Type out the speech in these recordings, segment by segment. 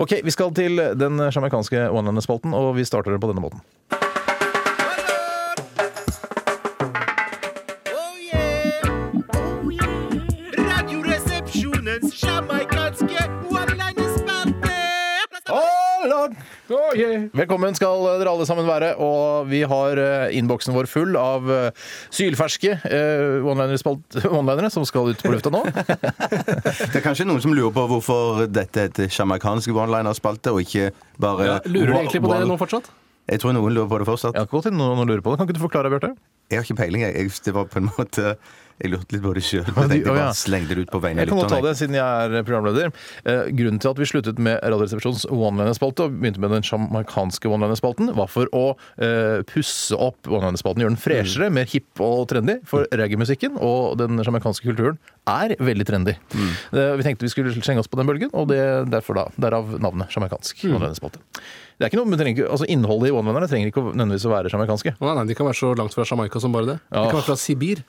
Ok, Vi skal til den sjamarkanske one-liner-spalten, og vi starter den på denne måten. Oh, Oh, Radioresepsjonens sjamaikanske one-liner-spalte. Velkommen skal dere alle sammen være. Og vi har eh, innboksen vår full av eh, sylferske eh, one-linere-spalt- one-linere som skal ut på lufta nå. Det er kanskje noen som lurer på hvorfor dette heter sjamaikansk one-liner-spalte, og ikke bare Ja, lurer du egentlig på det one- nå fortsatt? Jeg tror noen lurer på det fortsatt. Jeg har ikke gått inn noen og lurer på det. Kan ikke du forklare, Bjarte? Jeg har ikke peiling, jeg. jeg. Det var på en måte Jeg lurte litt på det sjøl, Ja, men du- jeg tenkte å, jeg ja. bare slengte det ut på vegne av Jeg kan godt ta lytterne. det, siden jeg er programleder. Eh, Grunnen til at vi sluttet med Radioresepsjons one-liner-spalte og begynte med den sjamarkanske one-liner-spalten, var for å eh, pusse opp one-liner-spalten, gjøre den Mm. freshere, mer hipp og trendy. For reggae-musikken og den sjamarkanske kulturen er veldig trendy. Mm. Eh, Vi tenkte vi skulle slenge oss på den bølgen, og det derfor da, derav navnet sjamarkansk Mm. one-liner-spalte. Det er ikke noe, men trenger ikke, altså Innholdet i one-linerne trenger ikke å- nødvendigvis å være sjamarkanske. Å, nei, De kan være så langt fra Jamaica som bare det. De Ja. kan være fra Sibir.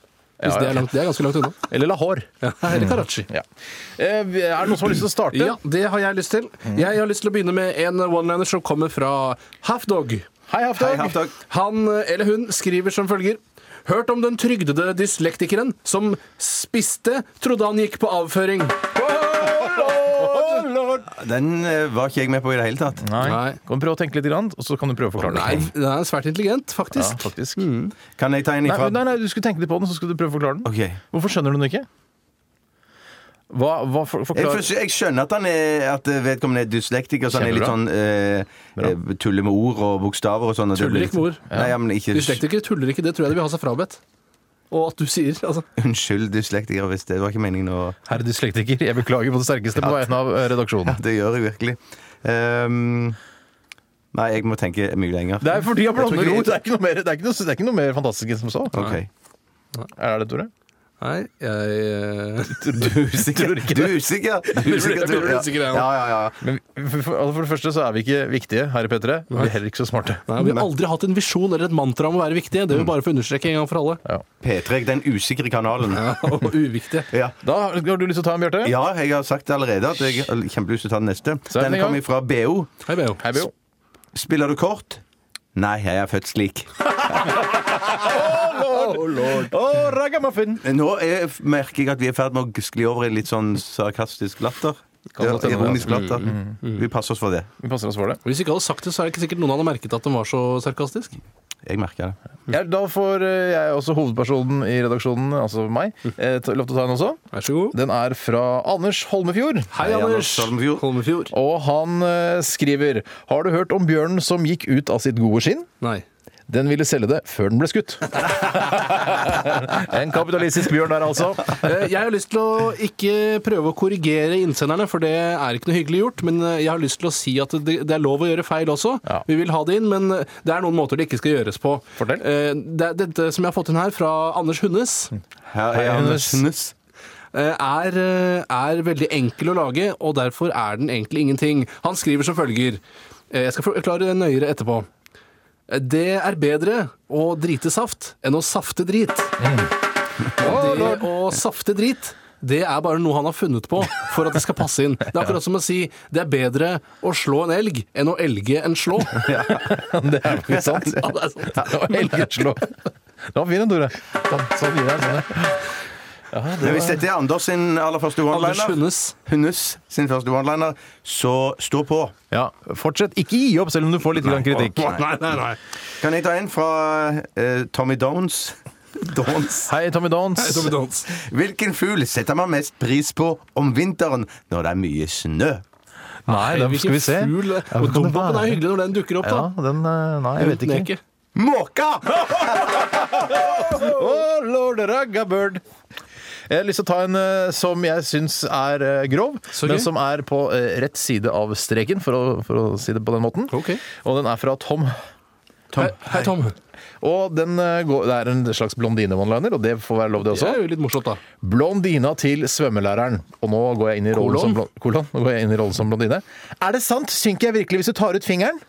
Ja, Hvis ja. Det, er langt, det er ganske langt unna. Eller Lahore. Ja, eller Karachi. Ja. Eh, Er det noen som har lyst til å starte? Ja, det har jeg lyst til. Jeg har lyst til å begynne med en one-liner som kommer fra Halfdog. Hei, Halfdag. Hei, Halfdag. Han eller hun skriver som følger. Hørt om den trygdede dyslektikeren som spiste, trodde han gikk på avføring. Den eh, var ikke jeg med på i det hele tatt. Nei. Nei. Kan du prøve å tenke litt, grann, og så kan du prøve å forklare Nei, det. den er svært intelligent, Ja, faktisk. faktisk. Kan jeg ta en Nei, ifra? nei, nei, du skulle tenke litt på den, så skulle du prøve å forklare den. Ok. Hvorfor skjønner du den ikke? Hva, hva for, Jeg, forklar... for, jeg skjønner at, han er, at vedkommende er dyslektiker, så han er litt sånn eh, tuller med ord og bokstaver og sånn. og det Tuller blir ikke med litt- ord. Nei, ja, men ikke Dyslektikere tuller ikke, det tror jeg de vil ha seg frabedt. Og at du sier, altså. Unnskyld, dyslektiker, hvis det var ikke meningen å Herre dyslektiker, jeg beklager på det sterkeste på vegne av eh, redaksjonen. Det gjør jeg virkelig. Ehm, nei, jeg må tenke mye lenger. Det er fordi jeg Jeg tror blander ikke- ord. Det er ikke noe mer, det er ikke noe, det er ikke noe mer fantastisk enn som så. Ok. Er det det, Tore? Nei, jeg eh, Du er usikker? ikke Du er usikker? Du er usikker, Jeg blir tror jeg. usikker, jeg ja. også. Ja, ja, ja. Men for, for, altså for det første så er vi ikke viktige her i P3. Vi er heller ikke så smarte. Nei, Mm. Vi har aldri hatt en visjon eller et mantra om å være viktige. Det vil vi bare få understreke en gang for alle. P3, den usikre kanalen. Og uviktige. Ja. Da har du lyst til å ta en, Bjarte? ja, jeg har sagt det allerede at jeg har kjempelyst til å ta den neste. Så er den i Den gang. kommer fra BO. Hei, Beo. Hei, Beo. Spiller du kort? Nei, jeg er født slik. Oh, ragamuffin! Nå er, merker jeg at vi er i ferd med å skli over i litt sånn sarkastisk latter. Kan Ja, godt hende, ironisk ja. latter. Vi passer oss for det. Vi passer oss for det. Hvis ikke jeg hadde sagt det, så er det ikke sikkert noen hadde merket at den var så sarkastisk. Jeg merker det. Ja, da får eh, jeg også hovedpersonen i redaksjonen, altså meg, eh, ta- lov til å ta en også. Vær så god. Den er fra Anders Holmefjord. Hei, Anders Anders Holmefjord. Holmefjord. Og han eh, skriver Har du hørt om bjørnen som gikk ut av sitt gode skinn? Nei. Den ville selge det før den ble skutt. en kapitalistisk bjørn der, altså. Eh, Jeg har lyst til å ikke prøve å korrigere innsenderne, for det er ikke noe hyggelig gjort. Men eh, jeg har lyst til å si at det det er lov å gjøre feil også. Ja. Vi vil ha det inn, men eh, det er noen måter det ikke skal gjøres på. Fortell. Eh, Det er dette som jeg har fått inn her, fra Anders Hunnes. Her er Hennes. Anders Nuss. eh, er, eh, er veldig enkel å lage, og derfor er den egentlig ingenting. Han skriver som følger eh, Jeg skal forklare det nøyere etterpå. Eh, Det er bedre å drite saft enn å safte drit. Mm. Og det å safte drit det er bare noe han har funnet på for at det skal passe inn. Det er akkurat som å si det er bedre å slå en elg enn å elge en slå. Det er jo ikke sant. Ja, det er sant. Og Elgerslå. Det var fin en, Tore. Sånn- Sånn gir jeg sånn. Men hvis dette er Anders sin aller første Anders one-liner, Hunnes. Hunnes sin første one-liner, så stå på. Ja, fortsett. Ikke gi opp, selv om du får litt grann kritikk. Nei, nei, nei. Kan jeg ta en fra eh, Tommy Downs? Downs. Hei, Tommy Dons. Tommy Dons. Hvilken fugl setter man mest pris på om vinteren når det er mye snø? Nei, den skal vi se. Fugl. Ja, hva Og kan det Dumbapen være? er hyggelig når den dukker opp, da. Ja, den eh, Nei, jeg vet ikke. Måka! Oh, lord Raggabird. Jeg har lyst til å ta en eh, som jeg syns er eh, grov, Så men gøy. som er på eh, rett side av streken, for å, for å si det på den måten. Ok. Og den er fra Tom. Hei, hei, Tom. Og den eh, går, Det er en slags blondine-one-liner, og det får være lov, det Det også. er jo litt morsomt, da. Blondina til svømmelæreren. Og nå går jeg inn i rollen, Kolon? som, blond, kolon, nå går jeg inn i rollen som blondine. Er det sant? Synker jeg virkelig hvis du tar ut fingeren?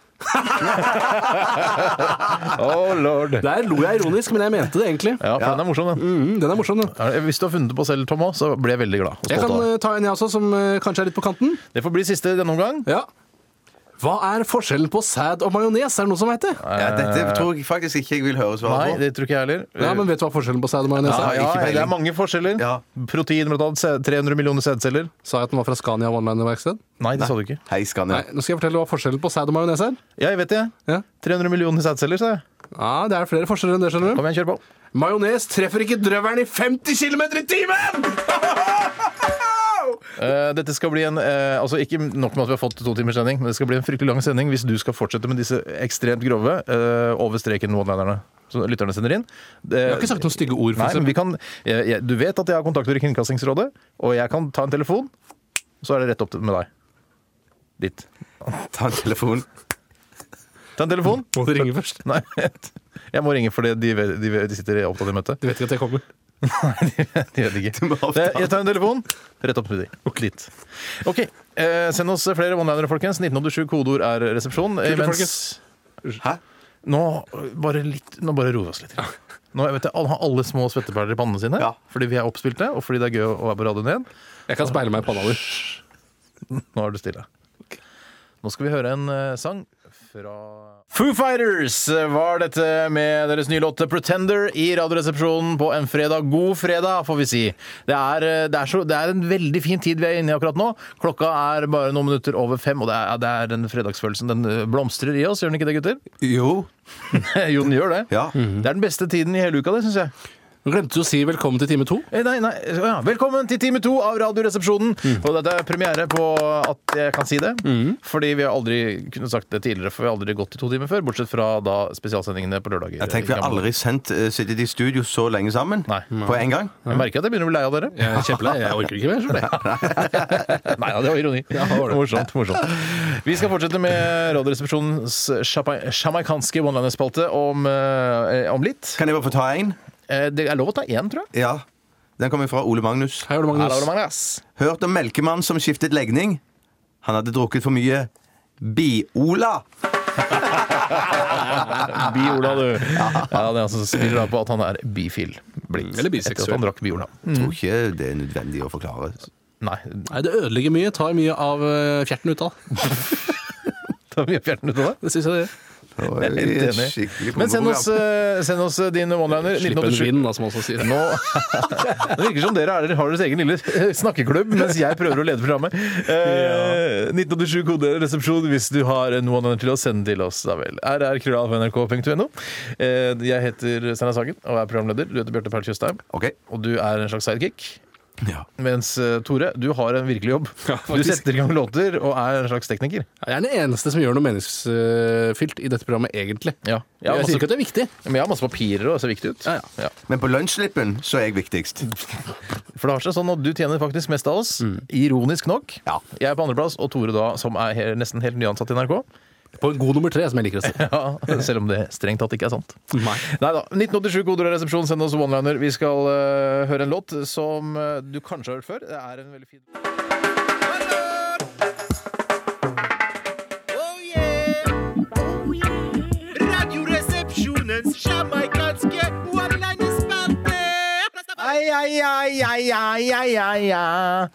oh lord. Der lo jeg ironisk, men jeg mente det egentlig. Ja, for den er morsom, den. Mm, den er morsom, den. Er det- Hvis du har funnet det på selv, Tom, også, så ble jeg veldig glad. og Jeg stolt kan av deg. eh, ta en jeg også, som eh, kanskje er litt på kanten. Det får bli siste i denne omgang. Ja. Hva er forskjellen på sæd og majones? Er det noe som heter? Ja, dette tror jeg faktisk ikke jeg vil høre Nei, svaret på. det tror ikke jeg heller. Ja, men vet du hva forskjellen på sæd og majones ja, er? ja, ikke peiling. det er mange forskjeller. Ja. Protein, blant annet. sæd- 300 millioner sædceller. Sa jeg at den var fra Scania One Man-verksted? Nei, det sa du ikke. Hei, Skania. Nei, nå skal jeg fortelle hva forskjellen på sæd og majones er. Ja, jeg vet det. Ja. 300 millioner sædceller, sa jeg. ja, det er flere forskjeller enn det, skjønner du. Kom igjen, kjør på. Majones treffer ikke drøvelen i 50 km i timen! Eh, dette skal bli en, eh, altså Ikke nok med at vi har fått to timers sending, men det skal bli en fryktelig lang sending hvis du skal fortsette med disse ekstremt grove eh, over streken one-linerne som lytterne sender inn. Jeg har ikke sagt noen stygge ord. For Nei, men eksempel. vi kan, jeg, jeg, du vet at jeg har kontakter i Kringkastingsrådet, og jeg kan ta en telefon, så er det rett opp til- med deg. Ditt. Ta en telefon. Ta en telefon. Må du ringe først? Nei, jeg må ringe fordi de, vet- de, vet- de sitter opptatt i møte. Du vet ikke at jeg kommer. De vet ikke. må avtale. Det- Jeg tar en telefon. Rett opp med de. Ditt. Ok, eh, send oss flere one-linere, folkens. 1987 kodeord er resepsjon. eh, Kult, Mens Hæ? nå bare, litt, nå bare roer vi oss litt. Nå jeg vet jeg, alle- har alle små svetteperler i pannene sine Ja. fordi vi er oppspilte, og fordi det er gøy å være på radioen igjen. Jeg kan speile meg i panna di. Nå er du stille. Nå skal vi høre en eh, sang fra Foo Fighters var dette med deres nye låt 'Pretender' i Radioresepsjonen på en fredag. God fredag, får vi si. Det er, eh, det, er så, det er en veldig fin tid vi er inne i akkurat nå. Klokka er bare noen minutter over fem, og det er, det er den fredagsfølelsen. Den eh, blomstrer i oss, gjør den ikke det, gutter? Jo. jo, den gjør det. Ja. Det er den beste tiden i hele uka, det, syns jeg. Nå glemte du å si velkommen til time to. Eh, Nei, nei, ja. Velkommen til time to av Radioresepsjonen. Mm. Og dette er premiere på at jeg kan si det. Fordi vi har aldri kunnet sagt det tidligere, for vi har aldri gått i to timer før. Bortsett fra da spesialsendingene på lørdager. Jeg tenker vi har aldri sendt, eh, sittet i studio så lenge sammen Nei. på en gang. Jeg merker at jeg begynner å bli lei av dere. Jeg er kjempelei. Jeg orker ikke mer. skjønner du. Nei, ja, det var ironi. Morsomt. morsomt. Vi skal fortsette med Radioresepsjonens sjapa- sjamaikanske one-liner-spalte om, eh, om litt. Kan jeg bare få ta en? Eh, Det er lov å ta én, tror jeg. Ja. Den kommer fra Ole Magnus. Hei, Ole Her er Magnus. det mange, ass. Hørt om melkemannen som skiftet legning. Han hadde drukket for mye Biola. Biola, du. Ja, det er han som spiller da på at han er bifil. Blitt. Etter Eller Mm. at biseksuell. han drakk Biola. Jeg tror ikke det er nødvendig å forklare. Nei, Nei, det ødelegger mye. Tar mye av eh, fjerten ut av. Ta mye fjerten ut av deg. Det syns jeg det. Oi, Helt enig. eh, skikkelig Men send oss, eh, program. send oss eh, din one-liner. Slipp en 1987. vind, da, som man også sier. Nå, det virker som dere er, har deres egen lille eh, snakkeklubb, mens jeg prøver å lede programmet. Eh, 1987 koderesepsjon hvis du har en one-liner til å sende til oss. Da vel. rrkrøllalfa.nrk.no. Eh, jeg heter Steinar Sagen og er programleder. Du heter Bjarte Perl Tjøstheim. Ok. Og du er en slags sidekick. Ja. Mens eh, Tore, du har en virkelig jobb. Ja, du faktisk. setter i gang låter og er en slags tekniker. Jeg er den eneste som gjør noe meningsfylt i dette programmet, egentlig. Ja. altså- Jeg, Jeg har masse- sier ikke at det er viktig. Men jeg har masse papirer og det ser viktig ut. Ja, ja. Ja. Men på lønnsslippen så er jeg viktigst. For det har seg sånn at du tjener faktisk mest av oss, Mm. ironisk nok. Ja. Jeg er på andreplass, og Tore da, som er he nesten helt nyansatt i NRK. På en god nummer tre, som jeg liker å si. Ja, selv om det strengt tatt ikke er sant. Nei. Nei da. 1987 koder og resepsjon, send oss one-liner. Vi skal eh, høre en låt som eh, du kanskje har hørt før. Det er en veldig fin Oh yeah. Oh yeah. Radioresepsjonens jamaikanske one-linerspalte. Ai, ai, ai, ai, ai, ai, ai, ai.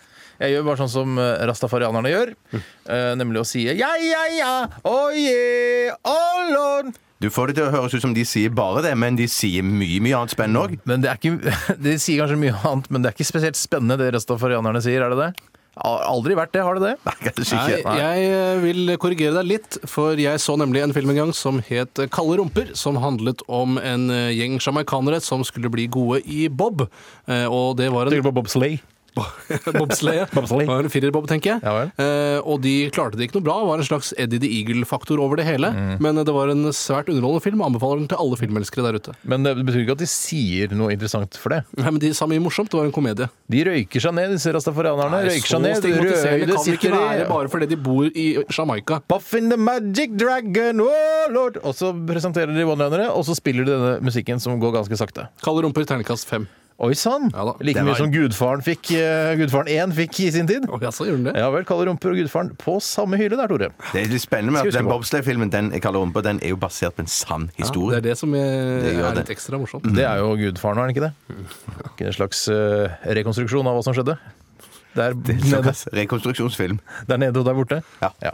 Jeg gjør bare sånn som eh, rastafarianerne gjør, eh, nemlig å si ja, ja, ja, oh yeah, oh lord. Du får det til å høres ut som de sier bare det, men de sier mye, mye annet spennende òg. Men det er ikke, De sier kanskje mye annet, men det er ikke spesielt spennende det rastafarianerne sier, er det det? Har aldri vært det, har det det? Nei, kanskje Nei, ikke. jeg eh, vil korrigere deg litt, for jeg så nemlig en film en gang som het Kalde rumper, som handlet om en eh, gjeng sjamaikanere som skulle bli gode i bob. Eh, Og det var en på bobsleigh? Bobsleie. Bobsleie. Det var en firerbob, tenker jeg. Ja vel. Eh, og de klarte det ikke noe bra. Det var en slags Eddie the Eagle-faktor over det hele. Mm. Men eh, det var en svært underholdende film. Anbefaler den til alle filmelskere der ute. Men det betyr ikke at de sier noe interessant for det. Nei, men De sa mye morsomt. Det var en komedie. De røyker seg ned, disse rastafarianerne. røyker seg ned, røde stigmatiserende kan det ikke sitter være i bare fordi de bor i Jamaica. Puff in the magic dragon, oh lord! Og så presenterer de one-linere, og så spiller de denne musikken som går ganske sakte. Kalde rumper, terningkast fem. Oi sann! Ja da. like Det mye var- som Gudfaren fikk eh, Gudfaren 1 fikk i sin tid. Å, jaså, gjorde den det? Ja vel, Kalle Rumper og Gudfaren på samme hylle der, Tore. Det er litt spennende med Skal vi at den se på. bobsleigh-filmen den jeg kaller rumpa, den er jo basert på en sann det historie. er det som er, Det gjør er det. litt ekstra Mm. morsomt. Det er jo gudfaren, er det ikke det? Ikke en slags eh, rekonstruksjon av hva som skjedde? Der nede. Såkalt Rekonstruksjonsfilm. Der nede og der borte? Ja.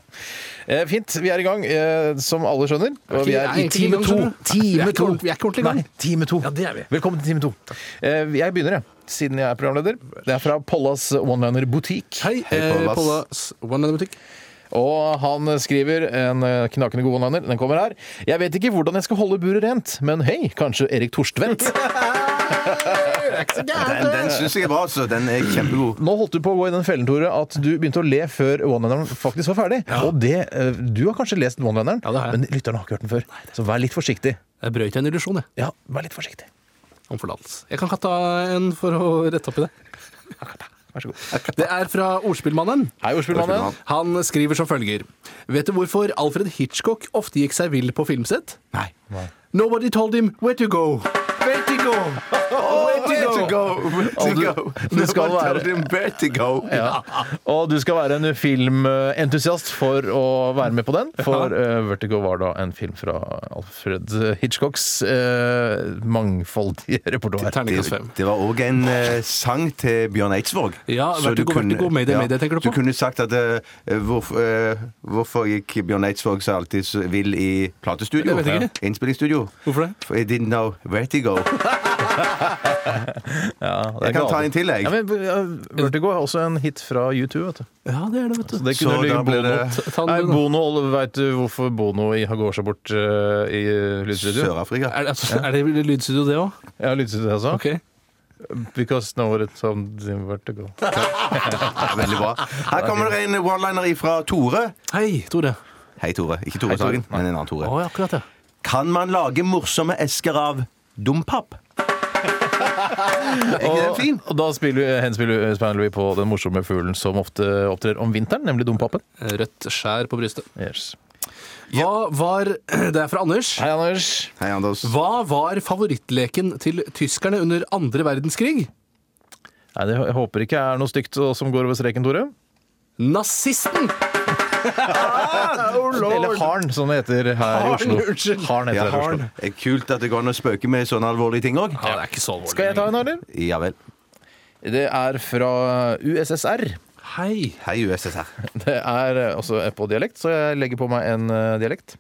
Eh, fint. Vi er i gang, eh, som alle skjønner. Og vi er i Nei, time ikke i gang, to. skjønner du. Time Vi er ikke to. ordent- vi er ikke ordentlig i gang. Nei, time to. Ja, det er vi. Velkommen til time to. Eh, Jeg begynner, jeg. Siden jeg er programleder. Det er fra Pollas Oneliner Butikk. Hei, Hei, eh, Pollas. Pollas One Line Butikk. Og han skriver en eh, knakende god oneliner. Den kommer her. Jeg vet ikke hvordan jeg skal holde buret rent, men hei, kanskje Erik Torstvedt? Den, den syns jeg er bra, så den er kjempegod. Nå holdt du på å gå i den fellen, Tore, at du begynte å le før one-lineren faktisk var ferdig. Og det, eh, du har kanskje lest one-lineren, Ja, det har jeg. men lytterne har ikke hørt den før. Så vær litt forsiktig. Jeg brøt en illusjon, jeg. Ja, vær litt forsiktig. Om forlatelse. Jeg kan ta en for å rette opp i det. Vær så god. Det er fra Ordspillmannen. Hei, ordspillmannen. Han skriver som følger. Vet du hvorfor Alfred Hitchcock ofte gikk seg vill på filmsett? Nei. Nobody told him where to go. Where to go? Vertigo! Vertigo! Du skal Nå være- taler de om Vertigo. Ja. Og du skal være en filmentusiast for å være med på den. For eh, Vertigo var da en film fra Alfred Hitchcocks eh, mangfoldige repertoar. Terningkast Det, fem. det var òg en eh, sang til Bjørn Eidsvåg. Ja, Så Vertigo, Vertigo, Mayday, Mayday, tenker du på? Du kunne sagt at eh, hvorf, eh, hvorfor gikk Bjørn Eidsvåg seg alltid så vill i platestudio? Det vet jeg Ja. Innspillingsstudio. Hvorfor det? For I didn't know Vertigo. Ja, det er Jeg kan gale. ta en til, jeg. Ja, men, eh, Vertigo er også en hit fra U2, vet du. Ja, det er det, vet Så du. det kunne Så ligge da blir Bono. det- Ta den, Nei, du, da. Bono, Veit du hvorfor Bono i- går seg bort eh, i lydstudio? Sør-Afrika. Er det, er det lydstudio, det òg? Ja, lydstudio, altså. Ok. Because now it's on the vertigo. Ja, veldig bra. Her kommer det en one-liner ifra Tore. Hei, Tore. Hei, Tore. Ikke Tore Hei, Tore. Sagen, men en annen Å, Tore. ja, akkurat, ja. Kan man lage morsomme esker av dompap? Er ikke den fin? Og da spiller vi, henspiller Span Louis på den morsomme fuglen som ofte opptrer om vinteren, nemlig dompapen. Rødt skjær på brystet. Yes. Hva var Det er fra Anders. Hei, Anders. Hei, Anders. Hva var favorittleken til tyskerne under andre verdenskrig? Nei, det, jeg håper ikke er noe stygt og- som går over streken, Tore. Nazisten! Eller Ah, oh, harn, som det heter her i Harn, Oslo. unnskyld. Harn heter Ja, det i Oslo. det er kult at det går an å spøke med sånne alvorlige ting òg. Ja, det er ikke så alvorlig. Skal jeg ta en, eller? Ja vel. Det er fra USSR. Hei. Hei, USSR. Det er eh, også på dialekt, så jeg legger på meg en eh, dialekt.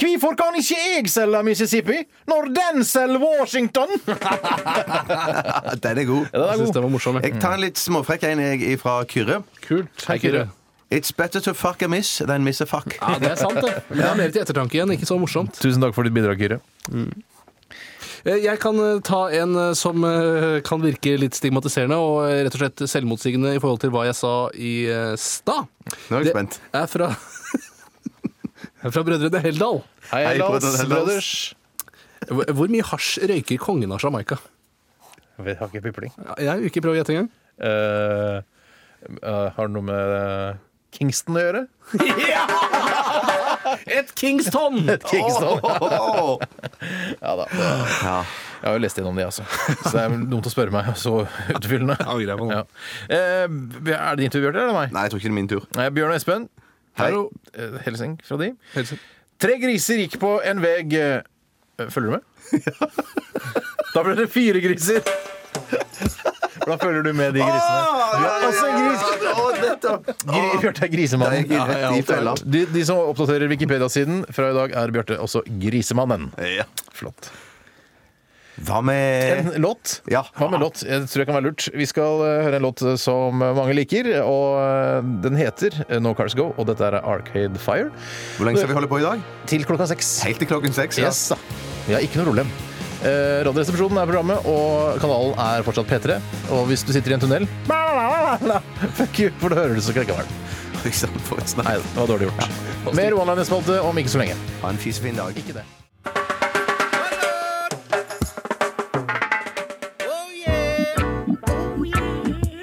Hvorfor kan ikke jeg selge Mississippi når den selger Washington? Ja, Den er god. Den Jeg er syns god. den var morsom. jeg. Jeg tar en litt småfrekk en jeg fra Kyrre. Kult. Hei, Kyrre. Kyrre. It's better to fuck a miss than miss a fuck. Ja, det er sant, det. Men det er mer til ettertanke igjen. Ikke så morsomt. Tusen takk for ditt bidrag, Kyrre. Eh, Jeg kan eh, ta en eh, som eh, kan virke litt stigmatiserende og eh, rett og slett selvmotsigende i forhold til hva jeg sa i eh, stad. Nå er jeg spent. Det er fra er fra Brødrene Heldal. Hei, Hei, Lars Brødrene Hellas. Brothers. Hvor hvor mye hasj røyker kongen av Jamaica? Vi har ikke pipling. Ja, Jeg har jo ikke prøvd å gjette engang. Eh, eh, har det noe med eh, Kingston å gjøre? Et Kingston! Kingston. Åh! Ja da. Jeg har jo lest gjennom de, altså. Så det er vel dumt å spørre meg så utfyllende. angrer jeg på Ja. nå. Eh, er det din tur, Bjarte, eller meg? Nei, jeg tror ikke det er min tur. Nei, Bjørn og Espen. Hei. Hallo. Eh, Hilsen fra de. Helse. Tre griser gikk på en veg eh, Følger du med? da ble det fire griser. Da følger du med de grisene. Åh, Ah, ja, Ah. ja, Også en gris. ja. Åh, nettopp. Gri- Bjarte er Da grisemannen. gikk jeg rett i fella. De, de som oppdaterer Wikipedia-siden fra i dag, er Bjarte også Grisemannen. Ja. Flott. Hva med En låt. Ja. Hva med låt? Jeg tror det kan være lurt. Vi skal eh, høre en låt som mange liker, og eh, den heter eh, No Cars Go, og dette er Arcade Fire. Hvor lenge skal vi holde på i dag? Til klokka seks. Helt til klokken seks. ja. Yes, da. Vi har ikke noe problem. Eh, Radioresepsjonen er programmet, og kanalen er fortsatt P3. Og hvis du sitter i en tunnel Fuck you, for da hører du så krekkevern. Liksom, for et Nei, snakk. det var dårlig gjort. Mer one-liner-spalte om ikke så lenge. Ha en fisefin dag. Ikke det. Oh yeah.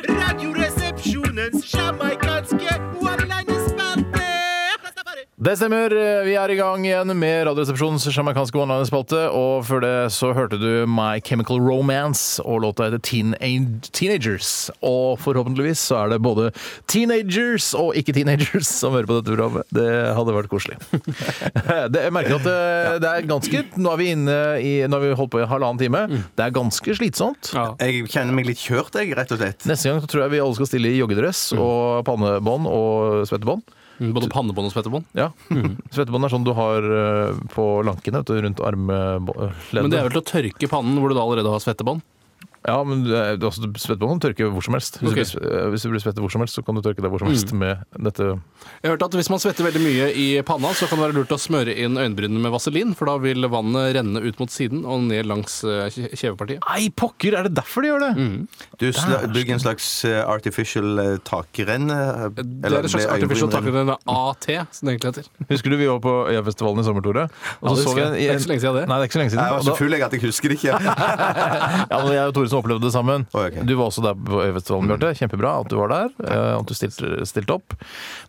Radioresepsjonens jamaikanske one-linerspalte. Det stemmer. Vi er i gang igjen med Radioresepsjonens sjamarkanske online-spalte. Og før det så hørte du My Chemical Romance, og låta heter Teen Teenagers. Og forhåpentligvis så er det både teenagers og ikke-teenagers som hører på dette programmet. Det hadde vært koselig. Det, jeg merker at eh, det, det er ganske Nå er vi inne i Nå har vi holdt på i halvannen time. Det er ganske slitsomt. Ja. Jeg kjenner meg litt kjørt, jeg, rett og slett. Neste gang så tror jeg vi alle skal stille i joggedress og pannebånd og svettebånd. Både pannebånd og svettebånd. Ja. Svettebånd er sånn du har eh, på lankene vet du, rundt eh, armleddet. Men det er vel til å tørke pannen hvor du da allerede har svettebånd? Ja, men du er- du- altså, du- svettebånd kan du tørke hvor som helst. Hvis, Ok. Mm. du blir, sve- eh, hvis du blir svettet hvor som helst, så kan du tørke deg hvor som helst med dette. Jeg hørte at Hvis man svetter veldig mye i panna, så kan det være lurt å smøre inn øyenbrynene med vaselin, for da vil vannet renne ut mot siden og ned langs eh, kje- kjevepartiet. Nei, pokker! Er det derfor de gjør det? Du sla, bygger en slags eh, artificial eh, takrenn. eh, Det eller er en slags blir artificial øyenbrynrenn. takrenn, eller AT, som det egentlig heter. Husker du vi var på Øyafestivalen i sommer, Tore? Og Ja, så så det vi husker jeg. Det er ikke så lenge siden det. Nei, det er ikke så lenge siden. Jeg var så Og da- full jeg at jeg husker det ikke. ja, men jeg og Tore som opplevde det sammen. Oi, ok. Du var også der på Øyafestivalen, Bjarte. Kjempebra at du var der. eh, At du stilte, stilte opp.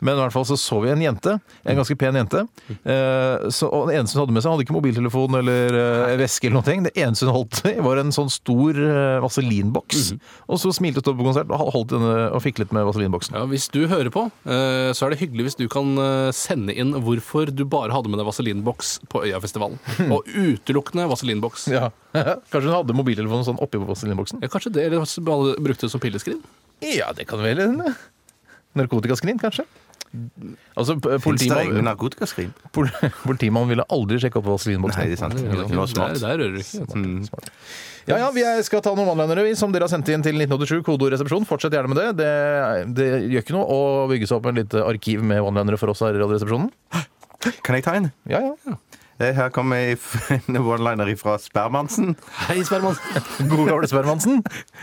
Men i hvert fall så så vi en jente, en ganske pen jente. eh, Så, og den eneste hun hadde med seg, hadde ikke mobiltelefon eller eh, veske eller noen ting. Det eneste hun holdt i, var en sånn stor eh, vaselinboks. Og så smilte hun til å stå på konsert og holdt denne og fiklet med vaselinboksen. Ja, hvis du hører på, eh, så er det hyggelig hvis du kan eh, sende inn hvorfor du bare hadde med deg vaselinboks på Øyafestivalen. Og utelukkende vaselinboks. Ja. Kanskje hun hadde mobiltelefonen sånn oppi vaselinboksen? Ja, kanskje det, eller så bare brukte det som pilleskrin? Ja, det kan vel hende. Narkotikaskrin, kanskje? Altså, p- Finnes det egne politimannen narkotikaskrin? pol- Politimannen ville aldri sjekke opp Nei, vaselinboksen. det er sant. Der, Nå smart. der rører du ikke. Smart. Ja, ja, vi er- skal ta noen one-linere vi, som dere har sendt inn til 1987, kodoresepsjon. Fortsett gjerne med det. det. Det gjør ikke noe å bygge seg opp en lite arkiv med one-linere for oss her i Radioresepsjonen. Kan jeg ta en? Ja, ja. Eh, Her kommer jeg f- en one-liner fra Spermansen. Hei, Sperman. God gamle Spermansen.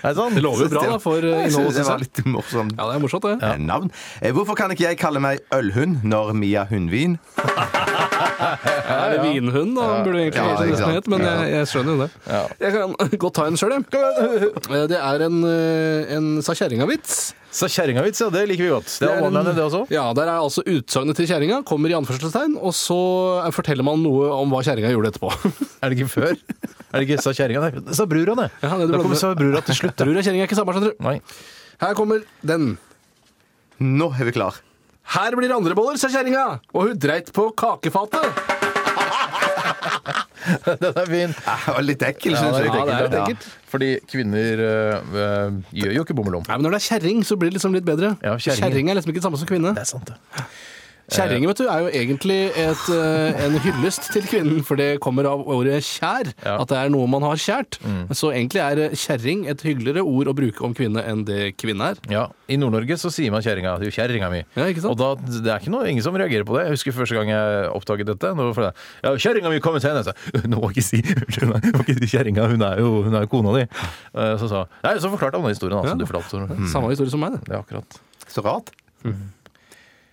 Hei sånn. sann. Det lover jo bra da, for eh, Jeg innholdet, synes det synes var jeg. litt morsomt. Ja, det er morsomt, det. eh, Navn. Eh, Hvorfor kan ikke jeg kalle meg ølhund når Mia Hundvin? Er det vinhund, da? Burde egentlig Ja, kanskje ikke nesten sant. hett, men jeg, jeg skjønner jo det. Jeg kan godt ta en sjøl, jeg. Eh, Det er en, eh, en sa kjerringa-vits. Så kjerringavits, ja. Det liker vi godt. Det er en- one-liner, det også. Ja, der er altså utsagnet til kjerringa kommer i anførselstegn, og så eh, forteller man noe om hva kjerringa gjorde etterpå. Er det ikke før? Er det ikke sa kjerringa? Nei, Sa brura, det. Ja, da det du blander. kommer sa brura til slutt. Tror jeg kjerringa er ikke samme, skjønner du. Nei. Her kommer den. Nå er vi klar. Her blir det andre boller, sa kjerringa, og hun dreit på kakefatet. Den er fin. Eh, det var Litt ekkel, Ja, syns det er jeg. litt Ja, det er ekkelt. litt ja. ekkelt. Fordi kvinner øh, øh, gjør jo ikke bommelom. Nei, men Når det er kjerring, så blir det liksom litt bedre. Ja, kjerring. Kjerring er liksom ikke det samme som kvinne. Det er sant, det. Kjerring vet du, er jo egentlig et, eh, en hyllest til kvinnen, for det kommer av ordet kjær. Ja. At det er noe man har kjært. Så egentlig er kjerring et hyggeligere ord å bruke om kvinne enn det kvinne er. Ja, I Nord-Norge så sier man kjerringa. Du, kjerringa mi. Ja, ikke sant? Og da, det er ikke noe, ingen som reagerer på det. Jeg husker første gang jeg oppdaget dette. Nå var det, ja, kjerringa mi kom ut henne! Jeg sa, «Øh, Nå må jeg ikke si unnskyld, nei, jeg må ikke si kjerringa, hun er jo, hun er jo kona di. Eh, Så sa Nei, så forklarte han den historien, da, som Ja. du fortalte. Tore. Samme historie som meg, det. Det er akkurat. Så rart.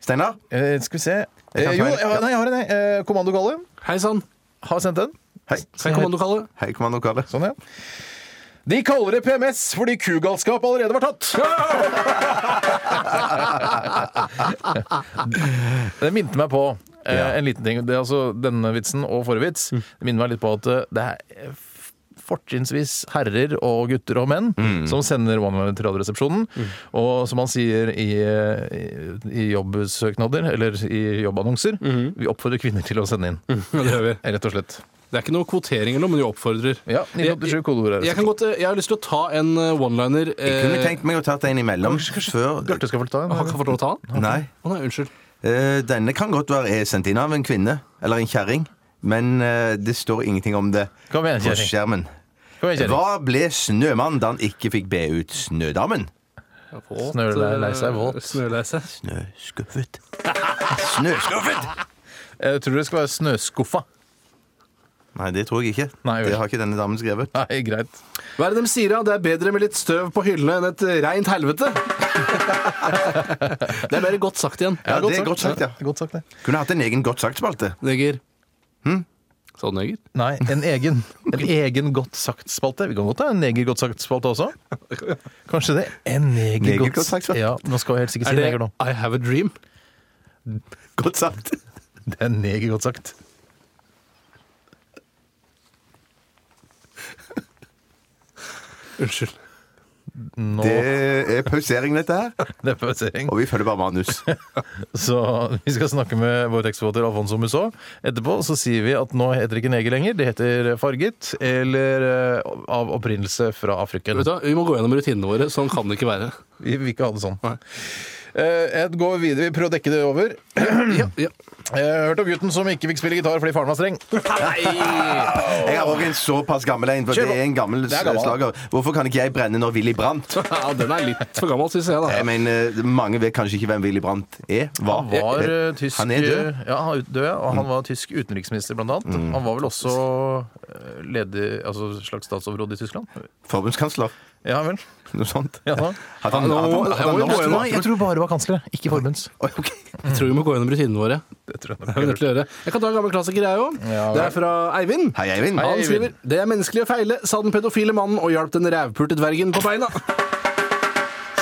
Steinar? Eh, skal vi se eh, kan Jo, feil. jeg har, nei, jeg har en, jeg. Eh, Kommando Galle Hei sann. har sendt en. Hei. Hei, kommandokalle. Hei, kommando Kalle. Sånn, ja. De kaller det PMS fordi kugalskap allerede var tatt. det minte meg på eh, en liten ting. Det er altså Denne vitsen og forrige vits Det minner meg litt på at eh, det er eh, f- fortrinnsvis herrer og gutter og menn som sender One Man til Radioresepsjonen. Og som han sier i, eh, i, i jobbsøknader, eller i jobbannonser, vi oppfordrer kvinner til å sende inn. Ja, det gjør vi. Rett og slett. Det er ikke noe kvotering eller noe, men vi oppfordrer. Ja, 1987 kodeord er Jeg, kan godt, eh, jeg har lyst til å ta en eh, one-liner. Jeg kunne eh, tenkt meg å tatt en imellom før Bjarte skal få ta en. Han kan få lov å ta den? Nei. Å nei, unnskyld. Eh, Denne kan godt være er sendt inn av en kvinne eller en kjerring, men eh, det står ingenting om det Kom igjen, på kjerring. skjermen. Kom igjen, kjerring. Hva ble Snømann da han ikke fikk be ut Snødamen? Snøleise er våt. Snøleise. Snøskuffet. Snøskuffet! Jeg tror det skal være snøskuffa. Nei, det tror jeg ikke. Nei, vel. det har ikke denne damen skrevet. Nei, greit. Hva er det de sier, da? Det er bedre med litt støv på hyllene enn et reint helvete. det er bare godt sagt igjen. Ja, det er godt sagt, ja. Godt sagt, det. Kunne hatt en egen godt sagt-spalte. Neger. Sa du neger? Nei, en egen, en egen godt sagt-spalte. Vi kan godt ha en neger godt sagt-spalte også. Kanskje det. En neger, Neger godt godt sagt-spalte. Ja, nå skal jeg helt sikkert si neger nå. I have a dream? Godt sagt. Det er neger, godt sagt. Unnskyld. Nå Det det... er pausering, dette her. er pausering. Og vi følger bare manus. Så vi skal snakke med vår tekstforfatter Alfonso Musaa. Etterpå så sier vi at nå heter det ikke neger lenger, det heter farget eller eh, av opprinnelse fra Afrika. Vet du, hva, vi må gå gjennom rutinene våre. Sånn kan det ikke være. Vi vil ikke ha det sånn. Nei. Eh, Ed, gå videre. Vi prøver å dekke det over. Eh, Ja, ja. Jeg har hørt om gutten som ikke fikk spille gitar fordi faren var streng. Jeg har også en såpass gammel en, for Kjør på. det er en gammel Det er gammel. slager. Hvorfor kan ikke jeg brenne når Willy Brandt? ja, den er litt for gammel, syns jeg. Jeg da. mener, Mange vet kanskje ikke hvem Willy Brandt er. Var. Han var eh, tysk Han er død. Ja, han er Mm. død, ja. Og han var tysk utenriksminister, blant annet. Han var vel også eh, ledig, altså slags statsoverhode i Tyskland? Forbundskansler. Ja vel. Noe sånt. Ja, da. Hadde han, Nå- hadde han, hadde jeg må jo han gå lost- gjennom- Nei, jeg tror bare det var kansler, ikke forbunds. Oi, ok. Jeg tror vi må gå gjennom rutinene våre. Det tror jeg Det er vi nok. nødt til å gjøre. Jeg kan ta en gammel klassiker, jeg òg. Ja, det vel. er fra Eivind. Hei, Eivind. Hei, Han skriver Det er menneskelig å feile, sa den pedofile mannen og hjalp den rævpulte dvergen på beina.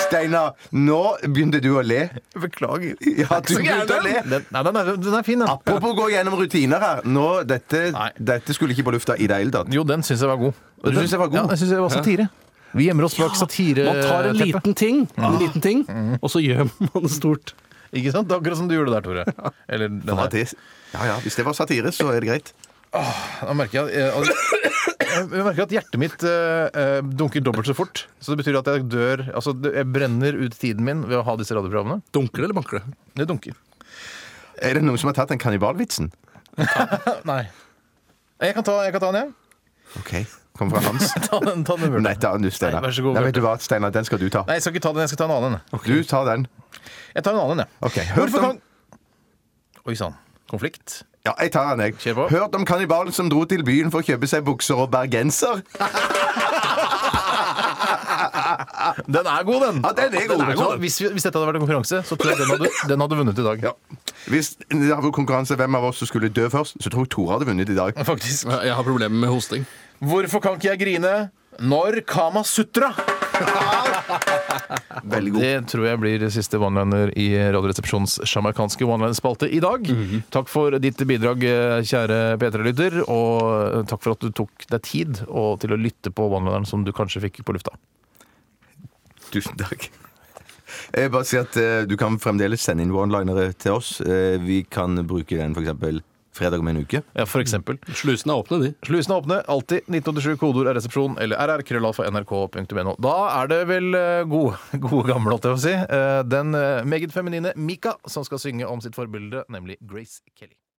Steinar, nå begynte du å le. Beklager. Ja, du begynte å le. Den, nei, den er, den er fin, den. Apropos gå gjennom rutiner her. Nå, dette, Nei. dette skulle ikke på lufta i det hele tatt. Jo, den syns jeg var god. Du synes jeg var god? Ja, jeg synes jeg var satire. Vi gjemmer oss bak Man tar en satireteppet. liten ting, en liten ting og så gjør man det stort. Ikke sant? Det er Akkurat som du gjorde der, Tore. Eller den Ja, her. det, ja, ja. Hvis det var satire, så er det greit. Da merker jeg, at- jeg, jeg merker at hjertet mitt eh, eh, dunker dobbelt så fort. Så det betyr at jeg dør Altså, det- jeg brenner ut tiden min ved å ha disse radioprogrammene. Dunker det eller banker det? Det dunker. Er det noen som har tatt den kannibalvitsen? Nei. Jeg kan ta, jeg kan ta den, jeg. OK. Kom fra Hans. Ta den, ta den med Nei, Bjørte. ta den du, Steinar. Nei, vær så god, Nei, vet du hva, Steinar, den skal du ta. Nei, jeg skal ikke ta den. Jeg skal ta en annen. en. Du tar den. Jeg tar en annen, en, jeg. Ok, hørt Hvorfor om- kan Oi sann. Konflikt. Ja, jeg tar den, jeg. Kjør på. Hørt om kannibalen som dro til byen for å kjøpe seg bukser og bergenser? Den er god, den! Ja, den er god. Så Hvis, vi- hvis dette hadde vært en konkurranse, så tror jeg den hadde, den hadde vunnet i dag. Ja. Hvis det hadde vært konkurranse hvem av oss som skulle dø først, så tror jeg Tore hadde vunnet i dag. Faktisk. Jeg har problemer med hosting. Hvorfor kan ikke jeg grine når Kama Sutra? Veldig god. Det tror jeg blir siste one-liner i Radioresepsjonens sjamarkanske one-liner-spalte i dag. Takk for ditt bidrag, kjære P3-lytter, og takk for at du tok deg tid og til å lytte på one-lineren som du kanskje fikk på lufta. Tusen takk. Jeg bare sier at eh, Du kan fremdeles sende inn one-linere til oss. Eh, vi kan bruke den f.eks. fredag om en uke. Ja, for eksempel. Slusene er åpne, de. Slusene er åpne, alltid 1987, kodeord er resepsjon, eller rrkrøllalfa.nrk.no. Da er det vel eh, gode, gode gamle, holdt jeg på å si, eh, den eh, meget feminine Mika som skal synge om sitt forbilde, nemlig Grace Kelly.